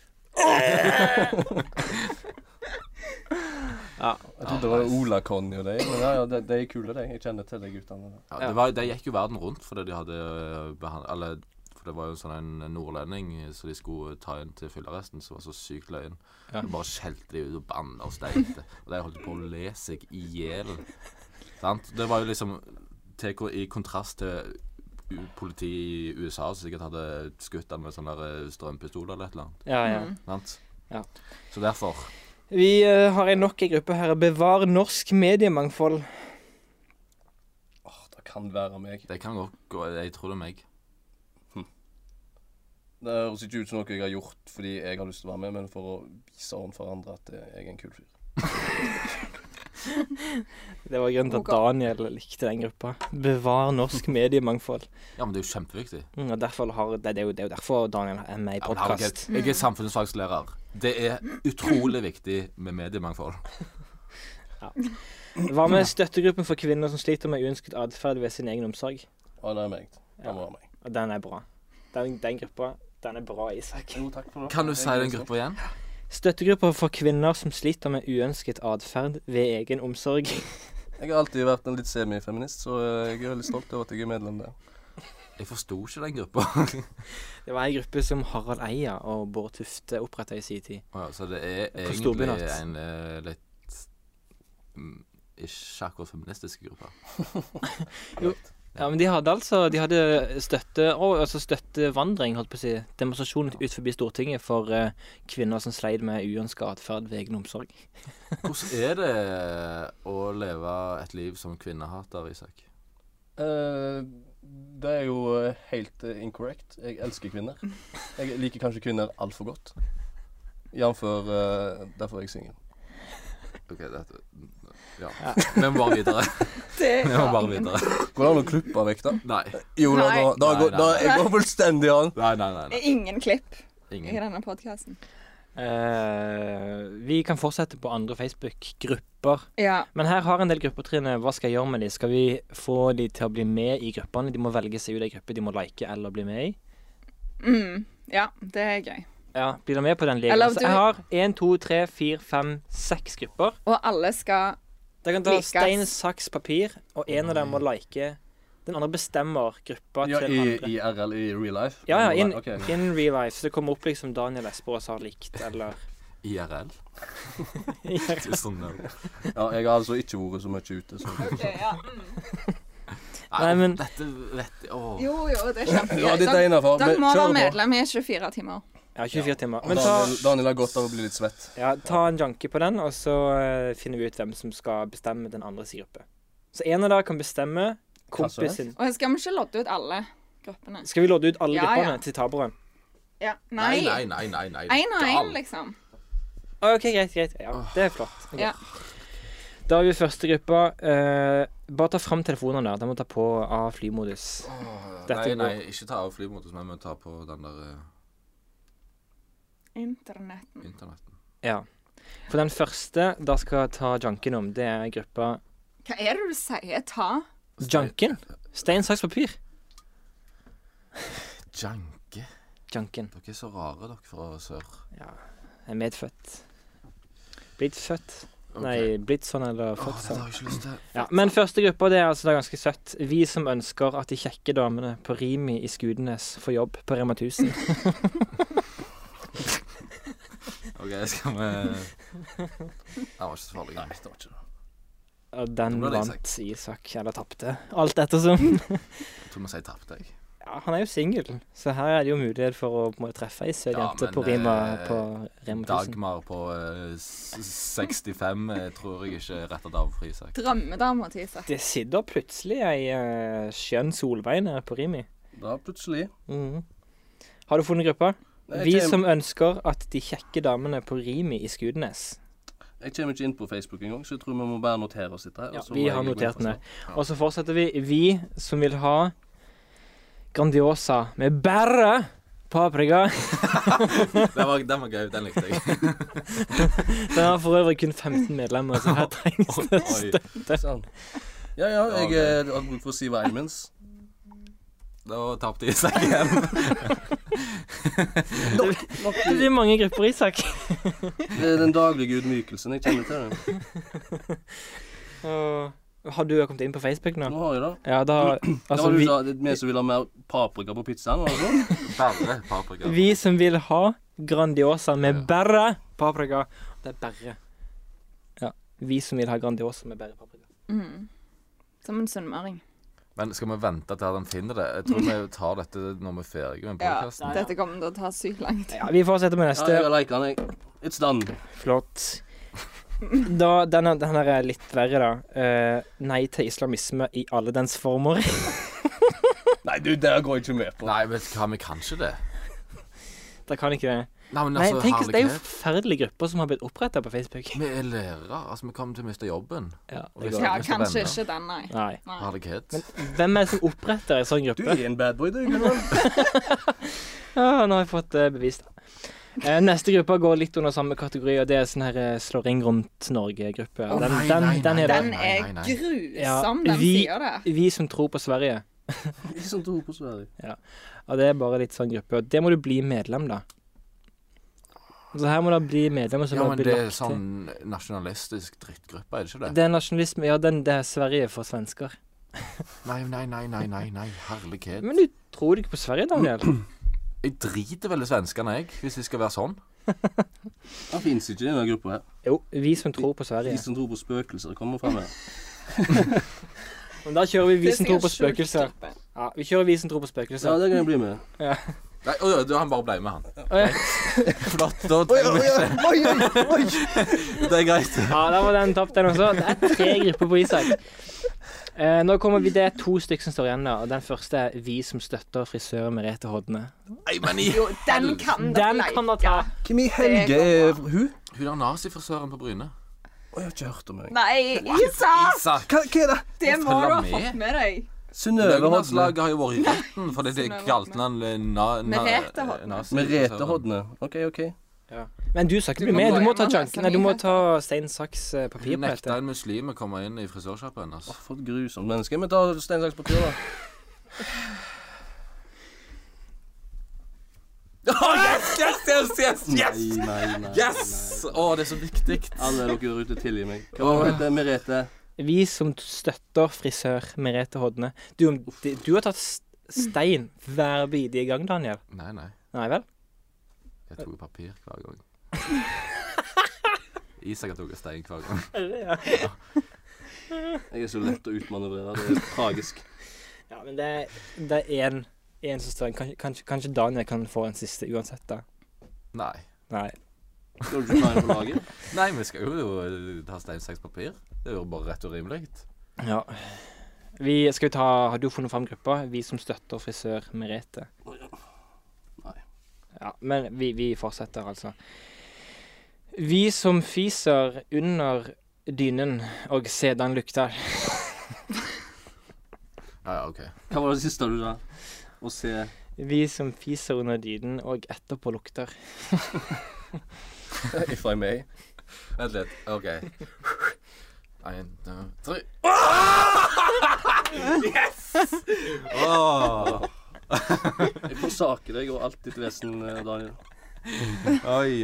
ja.
Jeg trodde det var Ola Conny og deg, men ja, ja, de, de er kule, de. Jeg kjenner til de guttene. der.
ja, det, var, de gikk jo verden rundt fordi de hadde behandla Eller for det var jo sånn en nordlending som de skulle ta inn til fyllearresten, som var så sykt løgn.
Ja.
Så bare skjelte de ut og banna og steinte. Og de holdt på å le seg i hjel. Sant? Det var jo liksom TK i kontrast til u- politiet i USA som sikkert hadde skutt han med sånne der, eh, strømpistoler eller et eller annet.
ja, ja.
Sant?
Ja.
Så derfor
Vi eh, har en nok en gruppe her. Bevar norsk mediemangfold.
Åh, det kan være meg.
Det kan godt gå Jeg tror det er meg.
Det høres ikke ut som noe jeg har gjort fordi jeg har lyst til å være med, men for å vise overfor andre at jeg er en kul fyr.
Det var grunnen til at
Ok.
Daniel likte den gruppa. Bevar norsk mediemangfold.
Ja, men det er jo kjempeviktig.
Mm, og derfor har, det, det, er jo, det er jo derfor Daniel er med i
Ja, men herregud,
podkast.
Jeg er samfunnsfagslærer. Det er utrolig viktig med mediemangfold.
Hva med støttegruppen for kvinner som sliter med uønsket atferd ved sin egen omsorg?
Å, det er meg. Det må være meg.
Og den er bra. Den, den gruppa, den er bra, Isak.
Jo, takk for det.
Kan du si den gruppa igjen?
Støttegrupper for kvinner som sliter med uønsket atferd ved egen omsorg.
Jeg har alltid vært en litt semifeminist, så eh, jeg er veldig stolt over at jeg er medlem der.
Jeg forsto ikke den gruppa.
Det var ei gruppe som Harald Eia og Bård Tufte oppretta i sin tid.
Å ja, Så det er
På storbyen,
egentlig
at-
en eh, litt mm, ikke akkurat feministisk gruppe.
Ja, men de hadde altså de hadde støtte, og, altså støttevandring, holdt på å si, demonstrasjon ut forbi Stortinget for eh, kvinner som sleit med uønska atferd ved egen omsorg.
Hvordan er det eh, å leve et liv som kvinnehater, Isak?
Eh, det er jo eh, helt eh, incorrect. Jeg elsker kvinner. Jeg liker kanskje kvinner altfor godt. Jf. Uh, derfor er jeg singel.
OK, dette Ja. Vi må bare videre.
Det
Vi må bare videre.
Går det an å klippe vekk, da?
Nei.
Jo da,
Nei.
da, da,
Nei,
går-
nei,
da,
nei.
jeg går fullstendig an.
Nei, nei, nei.
er ingen klipp
nei.
i
Ingen.
denne podkasten.
Eh, vi kan fortsette på andre Facebook-grupper.
Ja.
Men her har en del grupper, Trine. Hva skal jeg gjøre med de? Skal vi få de til å bli med i gruppene? De må velge seg ut ei gruppe de må like eller bli med i.
Mm. ja, det er gøy.
Ja, Blir du med på den leken?
Eller om
Altså,
du-
jeg har én, to, tre, fire, fem, seks grupper.
Og alle skal
Dere kan ta
Likes.
stein, saks, papir, og en av dem må like. Den andre bestemmer gruppa
Ja,
til
i,
andre.
I RL, i real life?
Ja, ja, in,
Ok.
in real life. Så det kommer opp liksom Daniel Esperås har likt, eller
IRL? Det er sånn, eh,
ja, jeg har altså ikke vært så mye ute. Så.
mm.
Nei, men-
Dette vet jeg Åh.
Jo, jo, det er
Ja,
kjempegøy.
dette er innafor.
Dere må være medlem i 24 timer.
Ja, 24 timer. Men ta,
Daniel, Daniel har godt av å bli litt svett.
ja, ta en junkie på den, og så eh, finner vi ut hvem som skal bestemme den andres gruppe. Så en av dere kan bestemme
som helst?
kompisen.
Og skal vi ikke lodde ut alle gruppene?
Skal vi lodde ut alle
Ja,
gruppene
ja.
til taperen?
Ja.
Nei,
Nei.
nei, nei. nei, nei.
Én og
Gal.
én, liksom.
Å, OK, greit, greit. Ja, det er flott. Ok.
Ja.
Da har vi første gruppa. Eh, bare ta fram telefonene der. De må ta på av flymodus. Dette
Nei,
går-
nei, ikke ta av flymodus, men vi må ta på den der eh,
Internetten.
internetten.
Ja. For den første da skal jeg ta junken om, det er gruppa
Hva er det du sier? Ta?
Janken. Stein, saks, papir.
Janke.
Janken.
Dere er så rare, dere fra sør.
Jeg er medfødt. Blitt født.
Ok.
Nei, blitt sånn eller
Åh,
født
dette
sånn.
har jeg ikke lyst til.
Ja, men første gruppa det er altså da ganske søtt. Vi som ønsker at de kjekke damene på Rimi i Skudenes får jobb på Rema 1000.
OK, skal vi Den var ikke så farlig. Nei, det var ikke det.
Og den
Det ble det
vant Isak, eller tapte. Alt ettersom.
Jeg tror vi sier tapte, jeg.
Ja, han er jo singel, så her er det jo mulighet for å på en måte treffe ei søt
Ja,
jente
men,
på Rima
eh,
på Rema 1000.
Dagmar på eh, s- 65 eh, tror jeg ikke er retta dame for Isak.
Drømmedama til Isak.
Det sitter plutselig ei eh, skjønn Solveig nede på Rimi.
Da plutselig
Mhm. Har du funnet gruppa?
Nei,
Vi
jeg kjem-
som ønsker at de kjekke damene på Rimi i Skudenes
Jeg kommer ikke inn på Facebook engang, så jeg tror vi må bare notere oss dette. her,
Ja,
og så
vi
må jeg
har
gå inn
notert
for
den
å
ned. Og så fortsetter vi. Vi som vil ha Grandiosa med bare paprika.
Den var, den var gøy. Den likte jeg.
Den har for øvrig kun 15 medlemmer, så her trengs det
Oi.
snakke. Sånn. Ja, ja,
Ja,
jeg eh, har bruk for å si hva jeg mens.
Da tapte Isak igjen.
Nok
Det er mange grupper, Isak.
det er den daglige ydmykelsen. Jeg kjenner til den.
Og Har du kommet inn på Facebook nå?
Nå har jeg det.
Ja, da
Det
Altså,
var du
vi,
sa, det er vi som vil ha mer paprika på pizzaen? var det sånn?
Bare paprika.
vi som vil ha Grandiosa med
Ja.
bare paprika. Det er bare. Ja. Vi som vil ha Grandiosa med bare paprika.
Mm. Som en sunnmøring.
Men skal vi vente til han finner det? Jeg tror vi tar dette når vi er ferdige med
Ja,
podkasten.
dette kommer til å ta sykt lang tid.
Ja, vi fortsetter med
Ja,
neste.
jeg har liket den, jeg. It's done.
Flott. Da, denne, denne her er litt verre, da. Eh, nei til islamisme i alle dens former.
Nei, du, det går jeg ikke med på.
Nei, vet du hva, vi kan ikke det.
Da kan ikke det.
Nei, men
Nei,
altså,
tenk, det er jo
herlighet.
forferdelige grupper som har blitt oppretta på Facebook.
Vi er lærere. Altså, vi kommer til å miste jobben.
Ja,
Og hvis
det
Ja,
går.
lyst til å
kanskje
vende.
ikke den, nei.
Nei.
nei.
Herlighet.
Hvem er det som oppretter en sånn
Du
gruppe?
er en bad boy, du, Gunnar.
Ja, nå har jeg fått eh, bevist det. Eh, neste gruppe går litt under samme kategori, og det er sånn her eh, slår ring rundt Norge-gruppe.
Å,
Den,
nei,
den,
nei,
den
nei,
er det.
Den
Nei,
er
nei, nei.
grusom,
Ja,
den
vi-
sier det.
Vi som tror på Sverige.
Ikke sånn tro på Sverige.
Og det er bare litt sånn gruppe. Og det må du bli medlem, da. Så her må du bli medlem. Og så
Ja,
må du
men
bli
det er
lagt til.
sånn nasjonalistisk drittgruppe, er det ikke det?
Det er nasjonalisme. Ja, den, det er Sverige for svensker.
Nei, nei, nei, nei, nei, nei, herlighet.
Men du tror ikke på Sverige, Daniel?
Jeg driter vel i svenskene, jeg, hvis det skal være sånn.
Han fins ikke i denne gruppa her.
Jo, vi som tror på
De
Sverige.
som tror på spøkelser, kommer fram her.
Men da kjører vi vi
Det
som
sier
tror på
sjukt
spøkelser.
gruppe.
Ja, vi kjører vi som tror på
Ja,
spøkelser.
det kan jeg bli med.
Nei, å, ja, du, han bare ble med, han.
Å, ja.
Flott, da trenger vi ikke
Oi, oi, oi!
Det er greit.
Ja, da var den tapt, den også. Det er tre grupper på Isak. Eh, nå kommer vi, Det er to stykker som står igjen. da, og Den første er vi som støtter frisør Merete Hodne.
Nei, men i
Jo, den kan
Den kan dere ta.
Hvem i helge er hun?
Hun er nazifrisøren på Bryne.
Å, jeg har ikke hørt om henne.
Nei, Isak!
Isak!
Hva, hva er det?
Det må du ha
følger
fått
med.
med deg.
Synnøve Hodne.
Løgnaslaget har jo vært i retten fordi de
Synnøve
kalte
Hodne.
han eh, na, na,
Merete Hodne.
nazi-
Merete Hodne. OK, OK.
Men du skal ikke
Du må
bli med.
gå
Du må
hjem
ta
og
junk.
lese
Nei, du må
nyheter.
ta stein, saks, eh, papir
Hun
på
nekta
dette.
en muslim å komme inn i frisørsjappen altså. hennes.
Å, for et grusomt menneske. Men ta stein, saks, papir, da.
Åh, yes, yes, yes, yes, yes!
Nei, nei, nei.
Yes! Å, det er så viktig.
Alle dere der ute, tilgi meg. Hva var det hun heter Merete?
Vi som støtter frisør Merete Hodne. Du, du har tatt s- stein hver bidige gang, Daniel.
Nei, nei.
Nei vel?
Jeg tok papir hver gang. Isak har tatt stein hver gang.
Jeg er så lett å utmanøvrere. Det er tragisk.
Ja, men det, er- det er én én som står igjen. Kanskje, kanskje, kanskje Daniel kan få en siste uansett, da.
Nei.
Nei.
Skal du ikke ta en på laget?
Nei, vi skal jo eh, ta stein, saks, papir. Det er jo bare rett og rimelig.
Ja. Vi skal vi ta Har du funnet fram gruppa? Vi som støtter frisør Merete.
Nei.
Ja, men vi, vi fortsetter, altså. Vi som fiser under dynen og sedan lukter.
Ja, ja, OK.
Hva var det siste du sa? Å se
Vi som fiser under dynen og etterpå lukter.
If I may.
Vent litt. OK. Én, to, tre.
Jeg forsaker deg og alt ditt vesen, eh, Daniel.
Oi,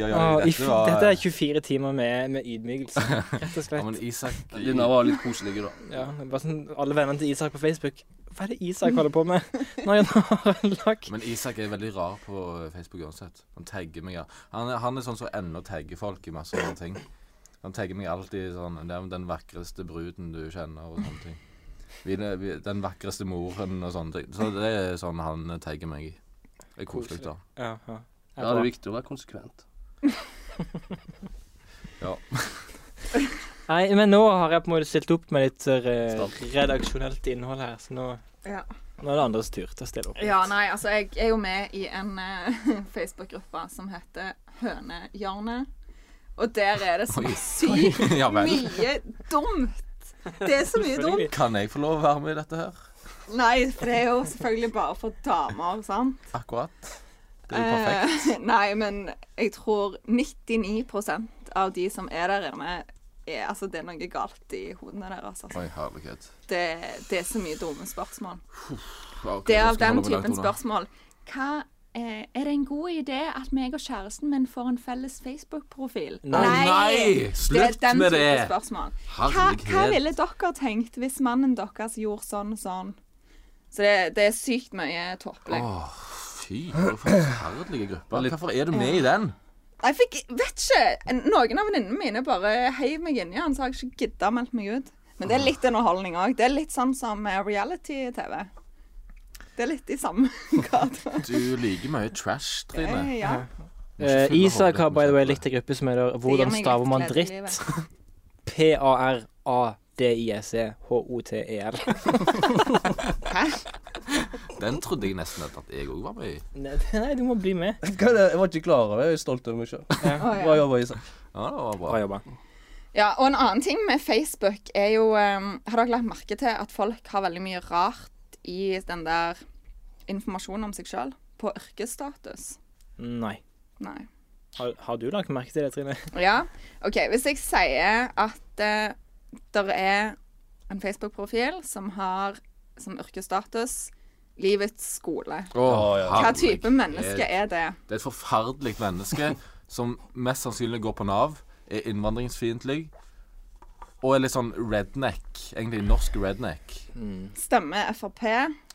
oi, oi.
Å, i f-
Dette var
Dette er 24 timer med, med ydmykelse, rett og
Ja,
slett.
men Isak
Denne var litt koselig, da.
Ja, det er bare sånn, alle vennene til Isak på Facebook Hva er det Isak holder på med? Når han har lag
Men Isak er veldig rar på eh, Facebook uansett. Han tagger meg. ja. Han er, han er sånn som ennå tagger folk i masse sånne ting. Han tagger meg alltid sånn Det er den vakreste bruden du kjenner, og sånne ting. Vi, vi, den vakreste moren og sånne ting. Så det er sånn han tagger meg i. Det er koselig, da.
Ja, ja.
Ja, det er viktig å være konsekvent.
Ja.
Nei, men nå har jeg på en måte stilt opp med litt eh,
Stopp.
redaksjonelt innhold her, så nå,
Ja.
nå er det andres tur til å stille opp.
ja, nei, altså jeg er jo med i en eh, Facebook-gruppe som heter Hønehjørnet. Og der er det så
Oi.
sykt
ja vel.
mye dumt. Det er så mye dumt.
Kan jeg få lov å være med i dette her?
Nei, for det er jo selvfølgelig bare for damer, sant?
Akkurat. Det er jo perfekt.
Eh, nei, men jeg tror 99 av de som er der inne, er, altså det er noe galt i hodene deres. Altså.
Oi, herlighet.
Det, det er så mye dumme spørsmål.
Ok,
Det er
da
av
skal
den
jeg holde meg langt
typen
unna.
spørsmål. Hva eh, er det en god idé at meg og kjæresten min får en felles Facebook-profil?
Nei.
Nei, slutt
det er den
med
type
det.
Spørsmål. Hva, hva
Herlighet.
ville dere tenkt hvis mannen deres gjorde sånn og sånn? Så det, det er sykt mye tåpelig.
Åh, fy, for forferdelige grupper. Hvorfor er du med i den?
Jeg fikk, vet ikke, Noen av venninnene mine bare heiv meg inn i den, så har jeg ikke gidda å melde meg ut. Men det er litt underholdning òg. Det er litt sånn som eh, reality-TV. Det er litt i samme gata.
Du liker mye trash, Trine.
Eh, Ja.
Eh,
Fylle
Isak har
hodet
by the way
med
likt en gruppe som heter
Det gir
Hvordan
meg
staver man
litt glede i
dritt?
livet.
E P-a-r-a-d-i-s-e-h-o-t-e-l.
Hæ?
Den trodde jeg nesten at at jeg òg var med i.
Nei, nei, du må bli med.
Hva er det? Jeg var ikke klar over det. Jeg er stolt over meg sjøl.
Å, ja.
Bra jobba, Isak.
Ja, det var bra.
Bra jobba.
Ja, og en annen ting med Facebook er jo ehm, Har dere lagt merke til at folk har veldig mye rart i den der informasjonen om seg sjøl? På yrkesstatus?
Nei.
Nei.
Har, har du lagt merke til det, Trine?
Ja, ok. Hvis jeg sier at uh, det er en Facebook-profil som har som yrkesstatus livets skole.
Åh,
ja.
Hva
herregud.
type menneske er det?
Det er et forferdelig menneske som mest sannsynlig går på Nav, er innvandringsfiendtlig og er litt sånn redneck. Egentlig norsk redneck.
Mm. Stemmer Frp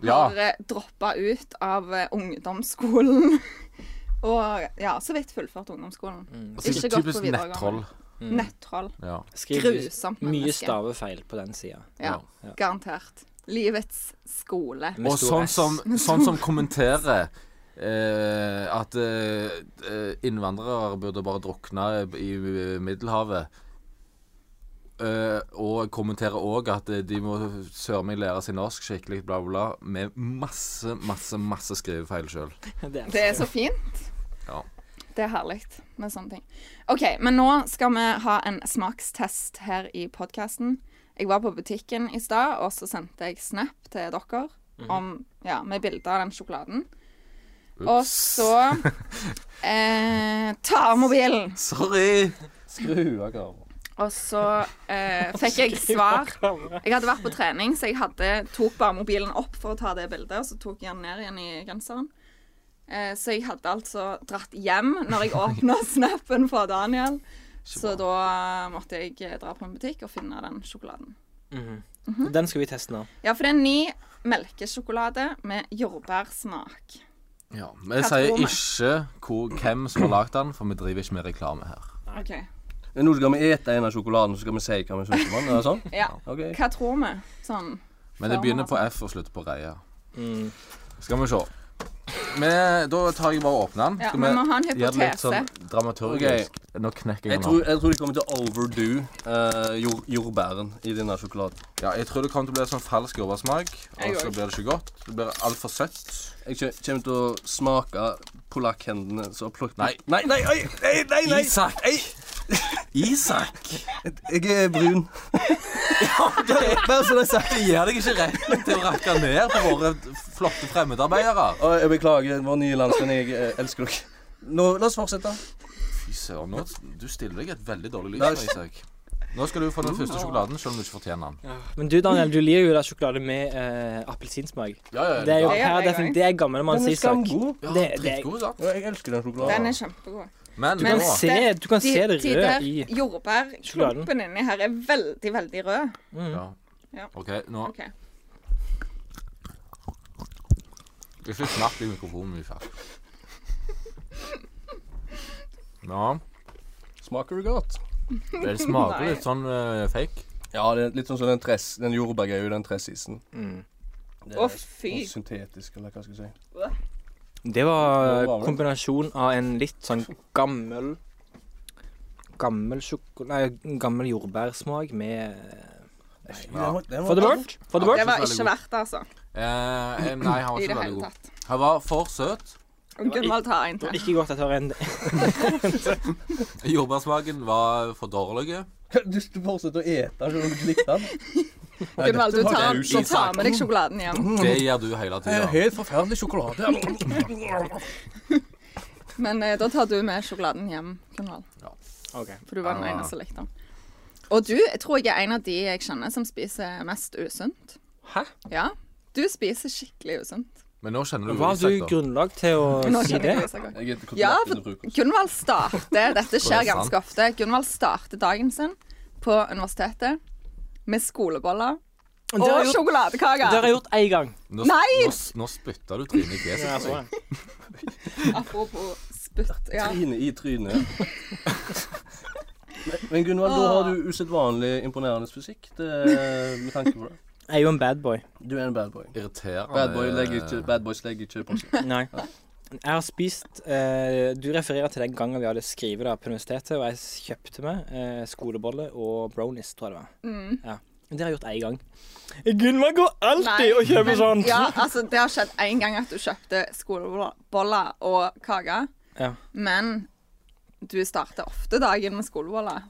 Ja.
har ja. droppa ut av eh, ungdomsskolen. Og ja, så vidt fullført ungdomsskolen.
Altså,
Ikke godt på
typisk
videregående.
nettroll.
mm. Nettroll.
Ja.
Skriv
Grusomt
mye
menneske.
stavefeil på den sida.
Ja, garantert. Livets skole.
Og sånn som, sånn som kommenterer eh, at eh, eh, innvandrere burde bare drukne i Middelhavet. Eh, og kommenterer òg at eh, de må søren meg lære seg norsk skikkelig, bla, bla, bla. Med masse, masse, masse skrivefeil sjøl.
Det
Det er så fint.
Ja.
Det er herlig med sånne ting. OK, men nå skal vi ha en smakstest her i podkasten. Jeg var på butikken i stad, og så sendte jeg snap til dere om, ja, med bilder av den sjokoladen. Og så eh, Ta av mobilen!
Sorry!
Skru av kameraet.
Og så eh, fikk jeg svar. Jeg hadde vært på trening, så jeg hadde, tok bare mobilen opp for å ta det bildet, og så tok jeg den ned igjen i genseren. Eh, så jeg hadde altså dratt hjem når jeg åpna snappen fra Daniel. Så da måtte jeg eh, dra på en butikk og finne den sjokoladen.
Den skal vi teste nå.
Ja, for det er ny melkesjokolade med jordbærsmak.
Ja, men jeg
Hva tror
sier
vi?
ikke hvor, hvem som har lagd den, for vi driver ikke med reklame her.
OK.
Nå skal vi ete en av sjokoladen, så skal vi si hva vi syns om den. Er det sånn?
Ja.
Ok.
Hva tror vi? Sånn
Men det begynner på F og slutter på Reia. Mm. Skal vi se. Men eh, da tar jeg bare og åpner den.
Ja,
Skal
vi må ha en
gjøre det litt
hypotese.
sånn dramaturgisk? Nå knekker jeg
Jeg
den
tror,
opp.
jeg tror de kommer til å overdo eh, jord, jordbæren i denne sjokoladen.
Ja, jeg tror det kommer til å bli sånn falsk jordbærsmak.
Jeg
Og så
også.
blir det ikke godt. Det blir altfor søtt.
Jeg kje- kommer til å smake polakkhendene som har plukket
Nei.
nei, nei, nei, nei, nei, nei.
Isak!
Nei.
Isak!
Jeg er brun.
Bare så jeg sagt, jeg gir deg ikke retten til å rakke ned på våre flotte fremmedarbeidere.
Å, jeg beklager, vår nye landsmenn. Jeg eh, elsker dere. Nå, la oss fortsette.
Fy søren, nå du stiller deg i et veldig dårlig
Nei.
lys, Isak. Nå skal du få den første sjokoladen, selv om du ikke fortjener den.
Men du, Daniel, du liker jo da sjokolade med eh, appelsinsmak.
Ja, ja,
Det er jo
Det gjør
per
jeg
defin-
også.
det er gammelmanns
Den er
isak.
skamgod.
ja,
det- det-
dritgod, sant?
Og jeg elsker den
Den
sjokoladen.
er kjempegod.
Men,
Du kan
Men-
bra.
se, du kan
De,
se det
de
røde
der
i
jordbærklumpen inni her er veldig, veldig rød.
Ja.
Ja.
OK, nå
Ok.
Ikke snakk i mikrofonen min, far. Ja,
Smaker det godt?
det smaker
Nei.
litt sånn eh, fake.
Ja, det er litt sånn som den, tress, den jordbærgreia, den tressisen. Det er
Å, fy.
sånn Syntetisk, eller hva skal jeg si.
Det var
Det var vel-
kombinasjon av en litt sånn gammel Gammel sjoko- Nei, gammel jordbærsmak med
Ja.
Den
For the bird. For the
Ja,
bird.
Det var
veldig
ikke
god.
verdt det, altså.
Eh, eh, nei, han var
I
ikke
det
så veldig
hele
god.
tatt.
Han var for søt.
Og Gunvald tar en
Det var
til.
Ikke godt at jeg har en
Jordbærsmaken var for dårlig.
Du du fortsetter å ete den selv om du ikke likte den. Nei, dette
Gunvald, du
var
tar,
raus.
du tar med deg sjokoladen hjem.
Det gjør du hele
Det er
tida.
helt forferdelig sjokolade.
Men eh, da tar du med sjokoladen hjem, Gunvald.
OK.
For du var den
Ja.
eneste som likte den. Og du jeg tror jeg er en av de jeg kjenner som spiser mest usunt.
Hæ?
Ja. Du spiser skikkelig usunt.
Men nå kjenner du
Hva har
Isak,
du
da.
grunnlag til å
Nå
si
kjenner
det?
jeg Isak også.
Jeg vet ikke
Ja,
hvordan
for
du bruker.
Gunvald starter Dette
Tror
skjer
jeg er sant.
ganske ofte. Gunvald starter dagen sin på universitetet med skoleboller
Det har
og
jeg gjort- det har
sjokoladekaker.
jeg gjort én gang. Altså,
Nå,
Nei!
nå, nå spytta du trynet i
Ja, jeg
fjeset.
så
på meg.
det.
Apropos spytt. Ja.
Trynet i trynet. Men- Men Gunvald, da har du usedvanlig imponerende fysikk det, med tanke på det.
Jeg er jo en bad boy.
Du er en bad boy.
Irriterende.
Bad, boy legger ikke, bad boys legger ikke på seg.
Nei. Jeg har spist eh, Du refererer til den gangen vi hadde skrivet da på universitetet, og jeg s- kjøpte meg eh, skolebolle og brownies, tror jeg det var.
Mm.
Ja. Det har jeg gjort én gang. Gunvor går alltid og kjøper
men-
sånt.
Ja, altså, det har skjedd én gang at du kjøpte skoleboller og kake,
Ja.
men du starter ofte dagen med skoleboller.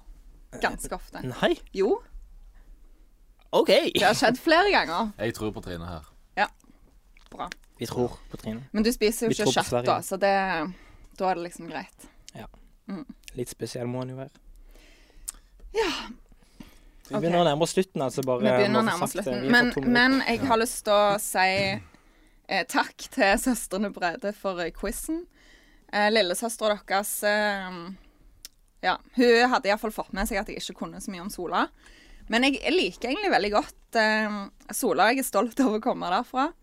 Ganske ofte.
Nei?
Jo,
OK.
det har skjedd flere ganger.
Jeg tror på Trine her.
Bra.
Vi tror på Trine.
Men du spiser jo
Vi
ikke
tror på
kjøtt, da, så det, da er det liksom greit.
Litt spesiell må han jo være.
Ja.
Vi begynner å nærme oss slutten, altså. bare
Vi begynner å
må få
nærme oss
sagt det.
slutten.
Vi har
Men,
fått to minutter.
men jeg har lyst til å si eh, takk til søstrene Brede for eh, quizen. Eh, Lillesøstera deres eh, ja, Hun hadde iallfall fått med seg at jeg ikke kunne så mye om Sola. Men jeg, jeg liker egentlig veldig godt eh, Sola. Jeg er stolt over å komme derfra.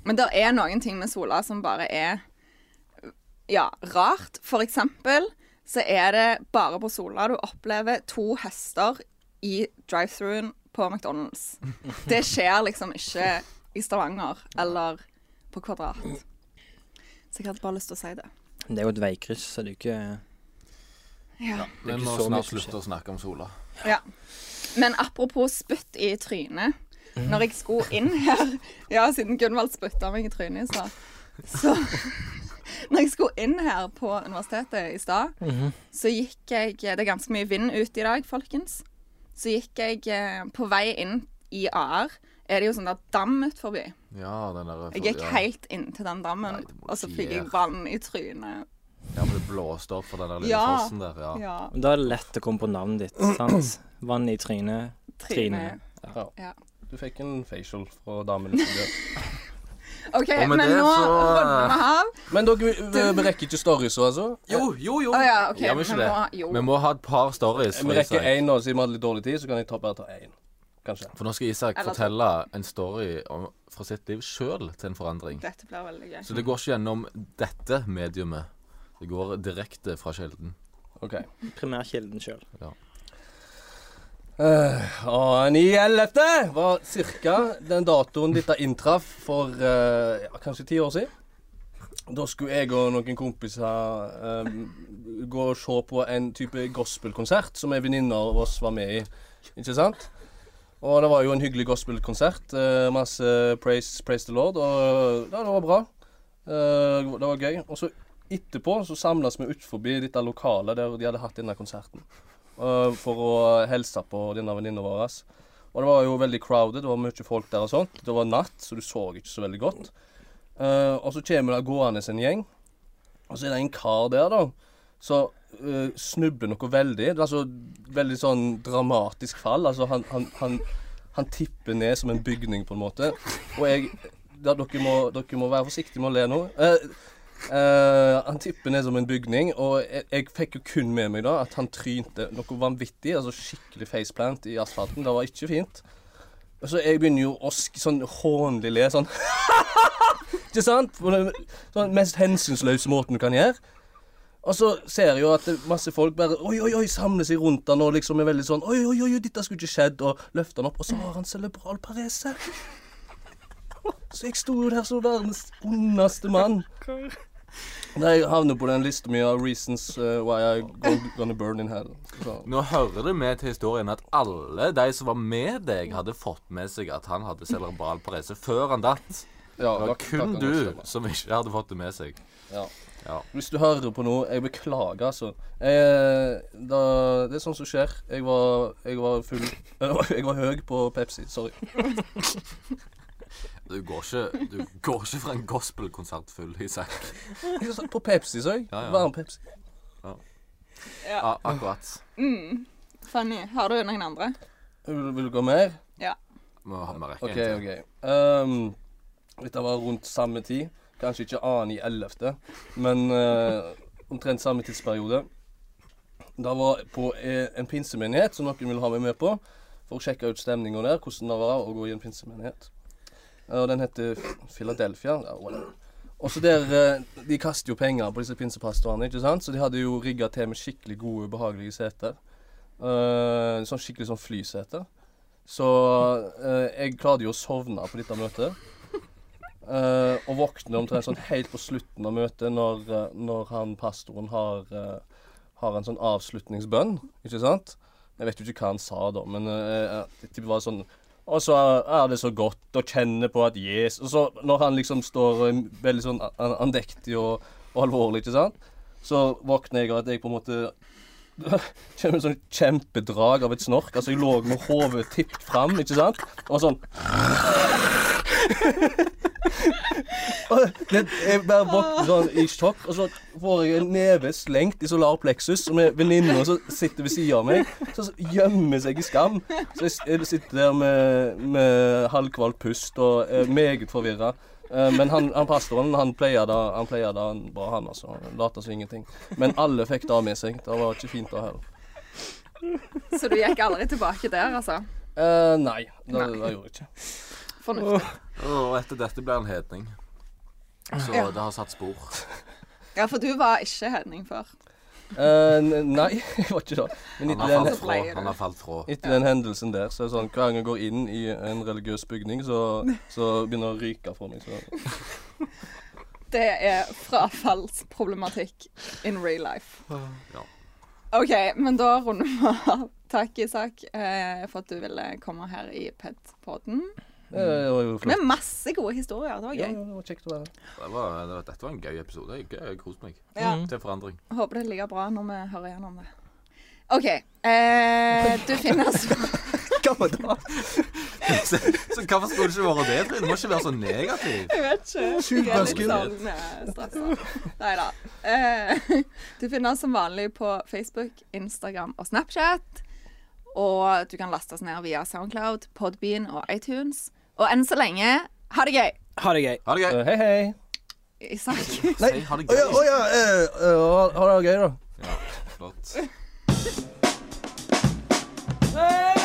Men det er noen ting med Sola som bare er ja, rart. For eksempel så er det bare på Sola du opplever to hester i drive-thruen på McDonald's. Det skjer liksom ikke i Stavanger eller på Kvadrat. Så jeg hadde bare lyst til å si det.
Det er jo et veikryss, så det er jo ikke
Ja.
Vi
ikke
må
så mye
snart
som skjer.
slutte å snakke om sola.
Ja. Men apropos spytt i trynet. Når jeg skulle inn her Ja, siden Gunvald spytta meg i trynet i stad. Så Når jeg skulle inn her på universitetet i stad, så gikk jeg Det er ganske mye vind ute i dag, folkens. Så gikk jeg eh, på vei inn i AR. Er det jo sånn der dam ut forbi?
Ja, den der
Jeg gikk
ja.
helt inntil den dammen,
Nei, det må du
og så
ikke
fikk jeg
gjøre.
vann i trynet.
Ja, men det blåste opp for den der lille
Ja.
fossen der. Ja.
Ja.
Men Da er det lett å komme på navnet ditt, sant? Vann i trynet. Trine.
Trynet.
Du fikk en facial fra damen. du skulle gjøre.
OK,
Og med
men
det
nå
så-
runder vi av.
Men dere eh, vi rekker ikke stories, altså?
Jo, jo, jo.
Å ja, OK.
Gjør vi
vi
ikke det?
må- jo.
Vi må ha et par stories.
Vi
fra
rekker
Isak.
én nå, siden vi hadde litt dårlig tid, så kan jeg ta, bare ta én. Kanskje.
For nå skal Isak
Eller to.
fortelle en story om, fra sitt liv sjøl til en forandring.
Dette blir veldig gøy.
Så det går ikke gjennom dette mediumet. Det går direkte fra kilden.
OK.
Primærkilden sjøl.
Eh, og 9.11. var ca. den datoen dette inntraff for eh, ja, kanskje ti år siden. Da skulle jeg og noen kompiser eh, gå og se på en type gospelkonsert som ei venninne av oss var med i. Ikke sant? Og det var jo en hyggelig gospelkonsert. eh, masse praise, praise the Lord. Og ja, det var bra. Eh, det var gøy. Og så etterpå så samles vi utenfor dette lokalet der de hadde hatt denne konserten eh, for å hilse på denne venninna vår. Og det var jo veldig crowded, det var mye folk der og sånt. Det var natt, så du så ikke så veldig godt. Eh, og så kommer det gående en gjeng, og så er det en kar der, da, som eh, snubler noe veldig. Det er altså veldig sånn dramatisk fall. Altså han, han, han, han tipper ned som en bygning, på en måte. Og jeg da, dere, må, dere må være forsiktige med å le nå. Eh, eh, han tipper ned som en bygning, og jeg, jeg fikk jo kun med meg da at han trynte noe vanvittig. Altså skikkelig faceplant i asfalten. Det var ikke fint. Og så Altså, jeg begynner jo å sk sånn hånlig le sånn. ikke sant? På den sånn mest hensynsløse måten du kan gjøre. Og så ser jeg jo at det- masse folk bare oi, oi, oi, samler seg rundt han og liksom er veldig sånn Oi, oi, oi, dette skulle ikke skjedd, og løfter han opp, og så har han cerebral parese. Så jeg sto jo der som verdens ondeste mann. Nei, jeg havner på den lista mi av reasons eh, why I go, gonna burn in hell. Så.
Nå hører det med til historien at alle de som var med deg, hadde fått med seg at han hadde cerebral parese før han datt.
Ja,
Det var
takk-
kun
takk,
du
Anders.
som ikke hadde fått det med seg.
Ja.
Ja.
Hvis du hører på noe, jeg beklager, altså. Jeg, eh, da, det er sånt som skjer. Jeg var, jeg var full Jeg var høy på Pepsi. Sorry.
Du går ikke, du går ikke fra en gospelkonsert full, Isak.
Jeg sa- På Pepsi, så jeg.
Ja, ja.
Varm Pepsi.
Ja.
Ja, akkurat.
Mm. Funny. Har du noen andre?
Vil, vil du gå mer?
Må ha med rekke
OK,
en til.
OK. Um, dette var rundt samme tid. Kanskje ikke annen i ellevte, men eh, omtrent samme tidsperiode. Det var på eh, en pinsemenighet som noen ville ha meg med på, for å sjekke ut stemninga der, hvordan det var å gå i en pinsemenighet. Eh, Og den heter F- Philadelphia. Ja, whatever. Og så der, eh, De kaster jo penger på disse pinsepastoene, ikke sant? så de hadde jo rigga til med skikkelig gode, behagelige seter. Eh, sånn skikkelig sånn flyseter. Så eh, jeg klarte jo å sovne på dette møtet. Eh, og våkner omtrent sånn helt på slutten av møtet, når, eh, når han pastoren har, eh, har en sånn avslutningsbønn, ikke sant? Jeg vet jo ikke hva han sa da, men eh, det typ var sånn Og så er det så godt å kjenne på at Jesus Og så når han liksom står eh, veldig sånn an- andektig og, og alvorlig, ikke sant, så våkner jeg av at jeg på en måte kommer en sånn kjempedrag av et snork. Altså, jeg lå med hodet tippet fram, ikke sant? Og sånn Og det, Jeg bare våkner sånn i sjokk, og så får jeg en neve slengt i solar plexus, og med venninna som sitter ved sida av meg, så gjemmer seg i skam. Så jeg, s- jeg sitter der med, med halvkvalt pust og er meget forvirra. Eh, Men han, han pastoren han pleier det han pleier det bra, han altså. Han Later som ingenting. Men alle fikk det med seg. Det var ikke fint å høre.
Så du gikk aldri tilbake der, altså?
Eh, nei, det,
Nei.
det gjorde jeg ikke.
Fornuftig.
Og etter dette blir han hedning. Så
Ja.
det har satt spor.
Ja, for du var ikke hedning før.
Eh, n- nei, jeg var ikke det. Men
Han
etter
har
den,
falt fra.
Pleier du?
Han har falt fra.
etter den hendelsen der, så er det sånn hver gang jeg går inn i en religiøs bygning, så, så begynner det å ryke for meg. Så.
Det er frafallsproblematikk in real life.
Ja.
OK, men da runder vi av. Takk, Isak, eh, for at du ville komme her i PED-podden.
Det var jo flott.
Med masse gode historier. Det var
Ja, ja,
gøy.
det var kjekt å være her.
Det var, det var, dette var en gøy episode. Jeg, jeg koste meg. Mm.
Ja.
Til forandring.
Håper det ligger bra når vi hører gjennom det. OK. Eh, du finner oss
Hva var det?
Så, så hvorfor skulle det ikke være det, Trine? Du må ikke være så negativ.
Jeg vet ikke.
Skyt
Jeg er litt
bøsken.
sånn, eh, stresset. Neida. Eh, Du finner oss som vanlig på Facebook, Instagram og Snapchat. Og du kan laste oss ned via Soundcloud, Podbean og iTunes. Og enn så lenge, ha det gøy!
Ha det gøy.
Ha det gøy.
Eh, Hei, hei.
Isak.
Nei,
Si ha det
Å ja, å
gøy.
ja. eh, eh, ha- ha det gøy, da.
Ja, flott.
Hey!